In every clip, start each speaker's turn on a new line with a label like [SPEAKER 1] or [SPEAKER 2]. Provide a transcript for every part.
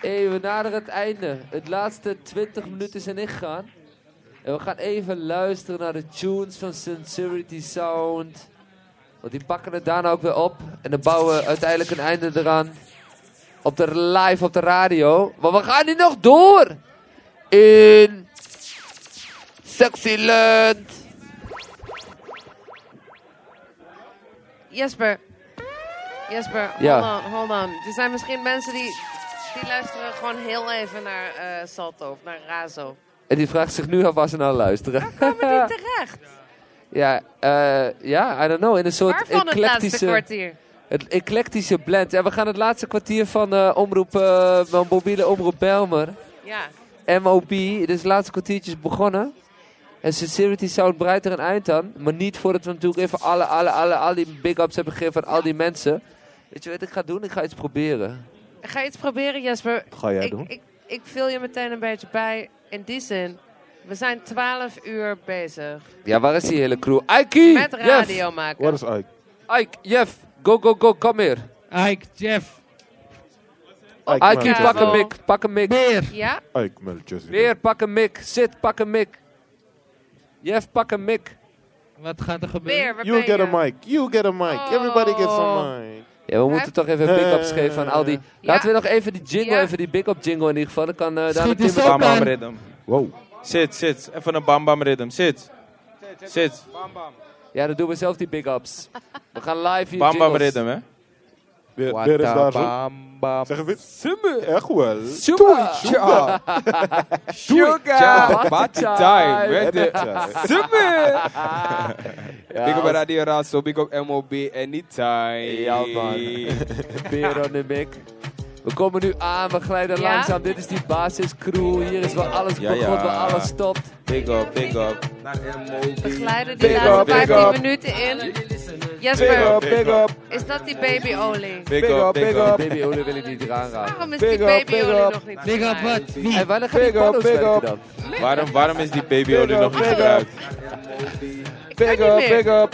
[SPEAKER 1] Hey, we naderen het einde. Het laatste 20 minuten zijn ingegaan. En we gaan even luisteren naar de tunes van Sincerity Sound. Want die pakken het daarna ook weer op. En dan bouwen we uiteindelijk een einde eraan. Op de live op de radio. Maar we gaan nu nog door. In Sexyland.
[SPEAKER 2] Jesper. Jesper, hold
[SPEAKER 1] Ja.
[SPEAKER 2] on, hold on. Er zijn misschien mensen die, die luisteren gewoon heel even naar eh, Salto of naar Razo.
[SPEAKER 1] En die vraagt zich nu af waar ze naar luisteren.
[SPEAKER 2] Maar die terecht.
[SPEAKER 1] ja, eh, ja, I don't know. In een soort
[SPEAKER 2] Waarvan het laatste
[SPEAKER 1] eclectische...
[SPEAKER 2] kwartier?
[SPEAKER 1] Het eclectische blend. En we gaan het laatste kwartier van eh, omroep, eh, van mobiele omroep Belmer.
[SPEAKER 2] Ja.
[SPEAKER 1] MOB. Dus het laatste kwartiertje is begonnen. En Sincerity Sound breidt er een eind aan. Maar niet voordat we natuurlijk even alle, alle, alle, al die big ups hebben gegeven aan al die mensen. Weet je wat ik ga doen? Ik ga iets proberen.
[SPEAKER 2] Ga je iets proberen, Jesper?
[SPEAKER 3] Ga jij
[SPEAKER 2] ik,
[SPEAKER 3] doen?
[SPEAKER 2] Ik, ik vul je meteen een beetje bij. In die zin, we zijn 12 uur bezig
[SPEAKER 1] Ja, waar is die hele crew? Ikey!
[SPEAKER 2] met radio
[SPEAKER 3] Wat
[SPEAKER 2] maken.
[SPEAKER 3] is Ike?
[SPEAKER 1] Jeff! Ike, Jeff! Go, go, go, kom hier.
[SPEAKER 4] Ike, Jeff,
[SPEAKER 3] Ike,
[SPEAKER 1] Ikey,
[SPEAKER 2] Kabel.
[SPEAKER 1] pak een mic, pak een mic.
[SPEAKER 4] Beer.
[SPEAKER 2] Ja?
[SPEAKER 3] Ike Melchizedek.
[SPEAKER 1] Weer, pak een mic. Zit, pak een mic. Jeff, pak een mic.
[SPEAKER 4] Wat gaat er gebeuren?
[SPEAKER 2] Weer, waar
[SPEAKER 3] You
[SPEAKER 2] ben
[SPEAKER 3] get
[SPEAKER 2] je?
[SPEAKER 3] a mic. You get a mic.
[SPEAKER 2] Oh.
[SPEAKER 3] Everybody gets a mic.
[SPEAKER 1] Ja, we moeten toch even big-ups
[SPEAKER 3] Eh.
[SPEAKER 1] geven aan al die...
[SPEAKER 2] Ja.
[SPEAKER 1] Laten we nog even die jingle,
[SPEAKER 2] Ja.
[SPEAKER 1] even die big-up jingle in ieder geval. Dan kan eh daar
[SPEAKER 4] Schiet
[SPEAKER 1] Tim...
[SPEAKER 4] eens op,
[SPEAKER 5] Bam bam
[SPEAKER 4] man.
[SPEAKER 5] rhythm.
[SPEAKER 3] Wow.
[SPEAKER 5] Zit, zit. Even een bam bam rhythm. Zit. Zit.
[SPEAKER 1] Ja, dan doen we zelf die big-ups. We gaan live hier
[SPEAKER 5] Bam bam
[SPEAKER 1] jingles.
[SPEAKER 5] rhythm, hè.
[SPEAKER 3] Weer, weer is daar zo.
[SPEAKER 5] Bam bam.
[SPEAKER 3] Zeggen we, Simmer, echt wel.
[SPEAKER 1] Super!
[SPEAKER 5] Sugar. Sugar. Party time. Weet je. Simmer. Big up Radio Razo. Big up MOB. Anytime.
[SPEAKER 1] Ja, man. Beer on the mic. We komen nu aan, we glijden
[SPEAKER 2] Ja?
[SPEAKER 1] langzaam. Dit is die basiscrew. Hier is waar alles
[SPEAKER 5] Ja,
[SPEAKER 1] begon,
[SPEAKER 5] ja.
[SPEAKER 1] waar alles stopt.
[SPEAKER 5] Big up, big up.
[SPEAKER 2] We glijden die
[SPEAKER 5] Big
[SPEAKER 2] laatste
[SPEAKER 5] up, big
[SPEAKER 2] 15
[SPEAKER 5] up.
[SPEAKER 2] minuten in.
[SPEAKER 5] Big
[SPEAKER 2] Jesper,
[SPEAKER 5] up, big up.
[SPEAKER 2] is dat die babyolie?
[SPEAKER 5] Big up, big up.
[SPEAKER 1] Baby Ole wil ik niet eraan raken.
[SPEAKER 2] Waarom is
[SPEAKER 5] Big
[SPEAKER 2] Ah, die
[SPEAKER 5] up, big
[SPEAKER 2] babyolie
[SPEAKER 5] up.
[SPEAKER 2] nog niet
[SPEAKER 4] Big up,
[SPEAKER 2] gedraaid?
[SPEAKER 4] wat? Wie?
[SPEAKER 3] Oh.
[SPEAKER 1] En wanneer gaan die
[SPEAKER 5] Big up,
[SPEAKER 1] panno's
[SPEAKER 5] big
[SPEAKER 1] werken
[SPEAKER 5] up.
[SPEAKER 1] dan?
[SPEAKER 5] Waarom, waarom is die babyolie nog niet
[SPEAKER 3] Big up,
[SPEAKER 5] gebruikt?
[SPEAKER 2] Ik kan
[SPEAKER 5] Big
[SPEAKER 2] niet
[SPEAKER 5] up,
[SPEAKER 2] meer.
[SPEAKER 5] big up.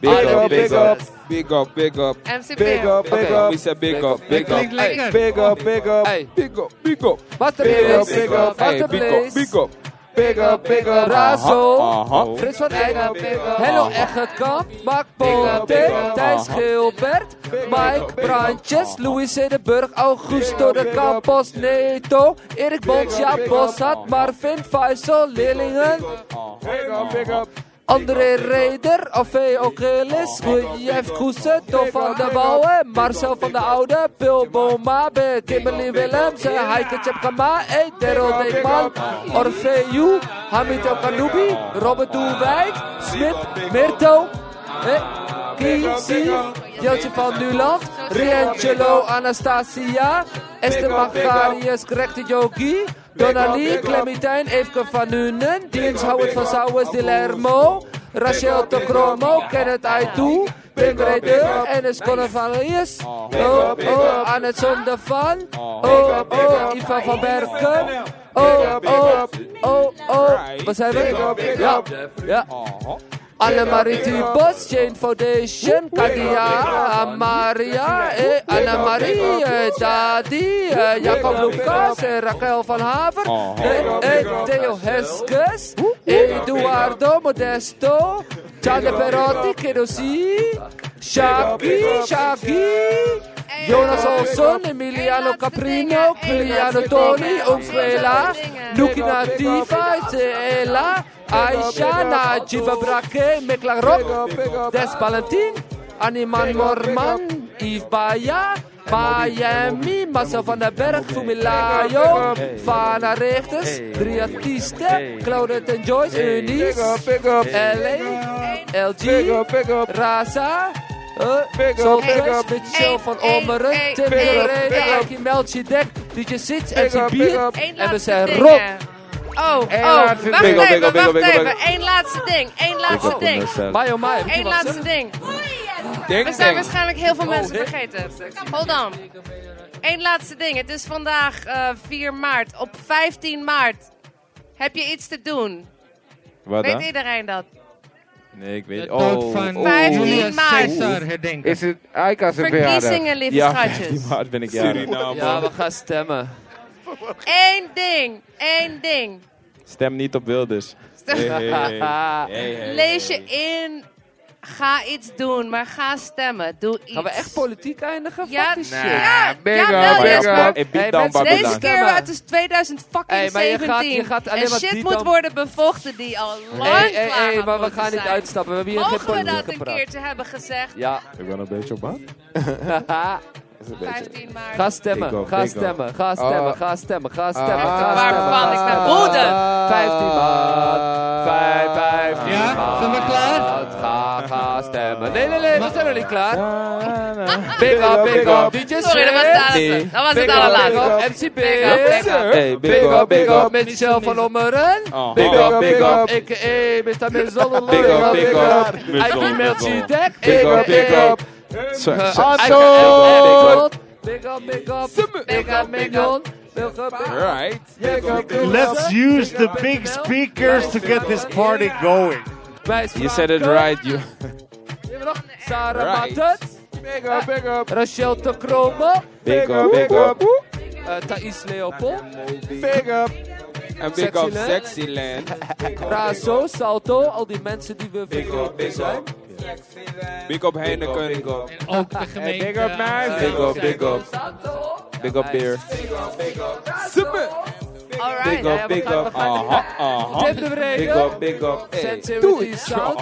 [SPEAKER 5] Big
[SPEAKER 1] Alle
[SPEAKER 5] up,
[SPEAKER 1] big
[SPEAKER 5] big up.
[SPEAKER 1] ups.
[SPEAKER 5] Big up, big up.
[SPEAKER 2] MC
[SPEAKER 5] Big
[SPEAKER 2] Beer.
[SPEAKER 5] up, big
[SPEAKER 1] Okay.
[SPEAKER 5] up. We said big up, big up.
[SPEAKER 4] Klinkt lekker.
[SPEAKER 5] Big up, big up.
[SPEAKER 1] Hey.
[SPEAKER 5] Big up, big up.
[SPEAKER 1] Master
[SPEAKER 5] Big up,
[SPEAKER 1] Place.
[SPEAKER 5] big up. Hey,
[SPEAKER 1] Master
[SPEAKER 5] big up,
[SPEAKER 1] Place.
[SPEAKER 5] big up. Big up, big up. Uh-huh,
[SPEAKER 1] Razo.
[SPEAKER 5] Aha, aha.
[SPEAKER 1] Frits van Eyck,
[SPEAKER 5] big up.
[SPEAKER 1] Hello Eggenkamp, Mark
[SPEAKER 5] big
[SPEAKER 1] Bolte,
[SPEAKER 5] up.
[SPEAKER 1] Thijs
[SPEAKER 5] Aha.
[SPEAKER 1] Gilbert, Mike
[SPEAKER 5] big up.
[SPEAKER 1] Brandjes, Louis Zedenburg, Augusto
[SPEAKER 5] Big up,
[SPEAKER 1] de
[SPEAKER 5] big up.
[SPEAKER 1] Campos, Neto, Erik Bons,
[SPEAKER 5] up,
[SPEAKER 1] Jaap
[SPEAKER 5] big
[SPEAKER 1] Bossat,
[SPEAKER 5] up.
[SPEAKER 1] Marvin, Faisal, Lillingen,
[SPEAKER 5] Big up, big up.
[SPEAKER 1] André Reder, Afeo Ogelis, Jeff Koesen, Tom van der Wouwen, Marcel van der Oude, Pil Bomabe, Kimberly Willems, eh, Heike Tjepkama, eh, Daryl Deekman, Orfeu, Hamid El Kanoubi, Robert Doelwijk, Smit, Mirto, eh, Kisi, Jeltje van Nuland, Riangelo, Anastasia, Esther Magarius, Correcte Yogi, Donali, Clementijn, Eefke van Nuenen, Diens Howard van Sauwers, Dilermo, Rachel Tocromo, Kenneth Aitou, Tim Reder, Enes Connevalius, oh, oh, Annette de Van, oh, oh, Ivan van Berken, oh, oh, oh, oh, wat zijn we? Ja, ja. Annemarie Tubos, Jane Foundation, Kadia, Maria, eh, Annemarie, eh, Dadi, eh, Jacob Lucas, eh, Raquel van Haver, eh, eh, Theo Heskes, Eduardo Modesto, Gianni Perotti, Kedosi, Shaki, Shaki,
[SPEAKER 2] Hey,
[SPEAKER 1] Jonas
[SPEAKER 2] hey,
[SPEAKER 1] Olsson, Emiliano
[SPEAKER 2] laatste
[SPEAKER 1] Caprino,
[SPEAKER 2] dingen, hey,
[SPEAKER 1] Criano
[SPEAKER 2] laatste
[SPEAKER 1] Toni,
[SPEAKER 2] dingen, hey,
[SPEAKER 1] Ongswela,
[SPEAKER 2] laatste dingen.
[SPEAKER 1] Nukina Diva, Ella, Aisha, Najiba Brake, Mekla Rob, Des Valentin, Animan Morman, Yves Baya, Miami, Marcel van den Berg, Fumilayo, Fana Richters, drie artiesten, Claudette en Joyce, Unis, LA, LG, Raza, eh,
[SPEAKER 5] Big up, big
[SPEAKER 1] Solfest,
[SPEAKER 5] up.
[SPEAKER 1] Mitchell van
[SPEAKER 2] Hey, hey,
[SPEAKER 1] Olmeren,
[SPEAKER 2] hey,
[SPEAKER 1] Tim
[SPEAKER 2] big
[SPEAKER 1] de
[SPEAKER 2] up,
[SPEAKER 1] Rede,
[SPEAKER 2] big up.
[SPEAKER 1] Aki Meltje Dek, DJ Sits, MC
[SPEAKER 5] up, big
[SPEAKER 1] Bier.
[SPEAKER 5] up.
[SPEAKER 2] Eén
[SPEAKER 1] En we
[SPEAKER 2] laatste
[SPEAKER 1] zijn
[SPEAKER 2] ding,
[SPEAKER 1] rot.
[SPEAKER 2] hè. Oh, oh, wacht
[SPEAKER 5] laatste ding. Big up, big
[SPEAKER 2] even,
[SPEAKER 5] up, big
[SPEAKER 2] wacht
[SPEAKER 5] up, big up.
[SPEAKER 2] even. Eén laatste ding, één laatste ding.
[SPEAKER 1] Mayo Mai.
[SPEAKER 2] Eén laatste ding. We
[SPEAKER 5] Ding,
[SPEAKER 2] zijn
[SPEAKER 5] ding.
[SPEAKER 2] waarschijnlijk heel
[SPEAKER 5] Oh,
[SPEAKER 2] veel mensen
[SPEAKER 1] dit-
[SPEAKER 2] vergeten. Hold on. Eén laatste ding. Het is vandaag eh, 4 maart. Op 15 maart heb je iets te doen.
[SPEAKER 5] Wat
[SPEAKER 2] Weet
[SPEAKER 5] dan?
[SPEAKER 2] iedereen dat?
[SPEAKER 6] Nee, ik
[SPEAKER 4] De
[SPEAKER 6] weet
[SPEAKER 4] dood
[SPEAKER 6] Oh,
[SPEAKER 4] van
[SPEAKER 6] oh.
[SPEAKER 2] 15
[SPEAKER 4] Julius
[SPEAKER 2] maart.
[SPEAKER 4] Caesar herdenken.
[SPEAKER 7] Is het Aika's een verjaardag?
[SPEAKER 2] Verkiezingen, lieve
[SPEAKER 6] Ja, 15
[SPEAKER 2] schatjes.
[SPEAKER 6] maart ben ik jarig.
[SPEAKER 5] Suriname.
[SPEAKER 1] Ja, we gaan stemmen.
[SPEAKER 2] Eén ding, één ding.
[SPEAKER 6] Stem niet op Wilders.
[SPEAKER 5] Hey, hey, hey.
[SPEAKER 1] Ah,
[SPEAKER 5] Hey, hey,
[SPEAKER 2] Lees je
[SPEAKER 5] hey.
[SPEAKER 2] in. Ga iets doen, maar ga stemmen. Doe iets.
[SPEAKER 1] gaan we echt politiek eindigen?
[SPEAKER 2] Ja,
[SPEAKER 1] Fuck die shit.
[SPEAKER 2] ja,
[SPEAKER 7] mega,
[SPEAKER 2] jawel,
[SPEAKER 7] mega.
[SPEAKER 2] Jesper.
[SPEAKER 6] Ik
[SPEAKER 1] Hey,
[SPEAKER 6] bied dan
[SPEAKER 1] mensen,
[SPEAKER 6] Babylon.
[SPEAKER 2] Deze
[SPEAKER 1] Stemmen.
[SPEAKER 2] keer uit is 2017.
[SPEAKER 1] Hey, maar je gaat- je gaat alleen
[SPEAKER 2] en
[SPEAKER 1] maar
[SPEAKER 2] shit
[SPEAKER 1] die
[SPEAKER 2] moet
[SPEAKER 1] dan-
[SPEAKER 2] worden bevochten die al lang
[SPEAKER 1] Hey, hey,
[SPEAKER 2] klaar
[SPEAKER 1] hey,
[SPEAKER 2] had
[SPEAKER 1] maar we
[SPEAKER 2] moeten
[SPEAKER 1] gaan niet
[SPEAKER 2] zijn.
[SPEAKER 1] uitstappen. We hebben hier geen
[SPEAKER 2] Mogen we
[SPEAKER 1] politiek
[SPEAKER 2] dat een
[SPEAKER 1] gepraat.
[SPEAKER 2] keertje hebben gezegd?
[SPEAKER 1] Ja.
[SPEAKER 3] Ik ben een beetje op maat. Is een beetje.
[SPEAKER 2] 15 maart.
[SPEAKER 1] Ga stemmen,
[SPEAKER 3] Ik ook,
[SPEAKER 1] ga
[SPEAKER 3] ik
[SPEAKER 1] stemmen, ga stemmen, ga stemmen, ga stemmen,
[SPEAKER 2] Ah.
[SPEAKER 1] ga stemmen.
[SPEAKER 2] Waarvan ik naar woede.
[SPEAKER 1] 15 maart, Vijf- 15
[SPEAKER 4] Ja,
[SPEAKER 1] maart.
[SPEAKER 4] zijn we klaar?
[SPEAKER 1] Ga, ga stemmen. Nee, nee, nee, we zijn nog niet klaar.
[SPEAKER 6] Ah,
[SPEAKER 1] Big up, big up, DJ
[SPEAKER 2] Sorry, dat was het
[SPEAKER 1] Sid.
[SPEAKER 2] allerlaatste. Dat was
[SPEAKER 1] Big up,
[SPEAKER 2] het
[SPEAKER 1] big
[SPEAKER 2] allerlaatste.
[SPEAKER 1] up, MC Big.
[SPEAKER 2] up, big up.
[SPEAKER 6] Hey,
[SPEAKER 1] Big up, big up, met Michel van Ommeren.
[SPEAKER 5] Aha.
[SPEAKER 1] Big up, big up,
[SPEAKER 6] up.
[SPEAKER 1] a.k.a. Mr. Mizzolle.
[SPEAKER 6] Big up, big up.
[SPEAKER 1] I emailed you that,
[SPEAKER 6] Big up, big
[SPEAKER 1] a.k.a.
[SPEAKER 6] up. Zo,
[SPEAKER 1] Uh,
[SPEAKER 6] zo.
[SPEAKER 1] Anton! Big up, big up. Big up, big up. Big up, big up.
[SPEAKER 5] Alright.
[SPEAKER 8] Let's use the big speakers to get this party going.
[SPEAKER 6] You said it right. You
[SPEAKER 1] Sarah
[SPEAKER 5] Right.
[SPEAKER 1] Mattens.
[SPEAKER 6] big up, big up.
[SPEAKER 1] Rachel de Kromme.
[SPEAKER 6] Big up, big up.
[SPEAKER 1] eh, Thais Leopold.
[SPEAKER 6] Big up.
[SPEAKER 5] En big up
[SPEAKER 1] Sexyland.
[SPEAKER 5] Sexyland.
[SPEAKER 1] Razo, Salto. Al die mensen die we vergeten zijn.
[SPEAKER 5] Big up Heineken.
[SPEAKER 4] En ook
[SPEAKER 3] eh,
[SPEAKER 4] de gemeente.
[SPEAKER 6] big up, man.
[SPEAKER 4] eh,
[SPEAKER 6] Big up, big up.
[SPEAKER 1] Salto.
[SPEAKER 6] Big up beer.
[SPEAKER 2] Alright.
[SPEAKER 1] Ja, ja, we
[SPEAKER 6] big
[SPEAKER 1] gaan- we
[SPEAKER 6] up. Uh-huh,
[SPEAKER 1] gaan-
[SPEAKER 5] Aha, aha.
[SPEAKER 1] Tip de
[SPEAKER 6] Big
[SPEAKER 1] breken.
[SPEAKER 6] up, big up. Hey,
[SPEAKER 1] Sensitivity Sound.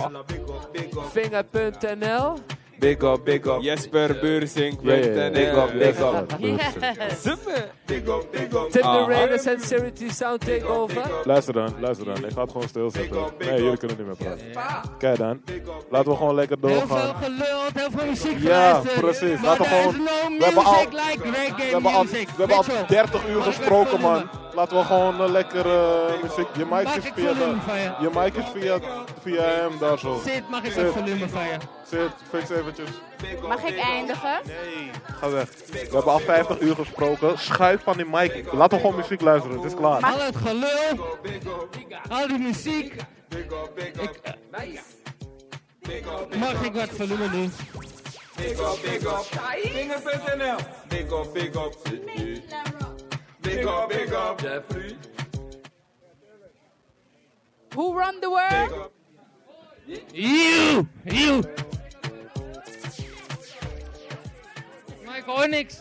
[SPEAKER 1] Vinger.nl.
[SPEAKER 6] Big up, big up.
[SPEAKER 5] Jesper Buursink.
[SPEAKER 6] Big up, big up.
[SPEAKER 2] Yes.
[SPEAKER 1] Tip de
[SPEAKER 6] Ah.
[SPEAKER 5] Aha.
[SPEAKER 1] breken. Sensitivity Sound Takeover.
[SPEAKER 3] Luister dan, luister dan. Ik ga het gewoon stilzetten. Nee, jullie kunnen niet meer praten. Kijk dan. Laten we gewoon lekker
[SPEAKER 4] Heel veel
[SPEAKER 3] doorgaan.
[SPEAKER 4] geluld, heel veel muziek
[SPEAKER 3] Ja,
[SPEAKER 4] geluisterd.
[SPEAKER 3] precies.
[SPEAKER 4] Maar
[SPEAKER 3] Laten we
[SPEAKER 4] er is
[SPEAKER 3] gewoon-
[SPEAKER 4] no
[SPEAKER 3] we hebben
[SPEAKER 4] music
[SPEAKER 3] al-
[SPEAKER 4] like
[SPEAKER 3] We
[SPEAKER 4] reggae
[SPEAKER 3] hebben, al,
[SPEAKER 4] music.
[SPEAKER 3] we hebben al
[SPEAKER 4] Mitchell,
[SPEAKER 3] 30 uur
[SPEAKER 4] mag ik
[SPEAKER 3] gesproken,
[SPEAKER 4] volume?
[SPEAKER 3] man. Laten we gewoon eh, lekker eh, muziek. Je mic
[SPEAKER 4] Mag
[SPEAKER 3] is
[SPEAKER 4] ik
[SPEAKER 3] via,
[SPEAKER 4] volume
[SPEAKER 3] de-
[SPEAKER 4] van je?
[SPEAKER 3] je mic is via, via hem daar zo.
[SPEAKER 4] Sid, mag ik
[SPEAKER 3] Sid.
[SPEAKER 4] het volume van je?
[SPEAKER 3] Zit, fix eventjes.
[SPEAKER 9] Mag ik eindigen?
[SPEAKER 3] Nee, ga weg. We hebben al 50 uur gesproken. Schuif van die mic. Laten we gewoon muziek luisteren. Het is klaar.
[SPEAKER 4] Al het gelul, al die muziek. Ik, eh, mag ik wat volume doen?
[SPEAKER 9] Who run the world?
[SPEAKER 4] Eeuw, eeuw. Maar ik hoor niks.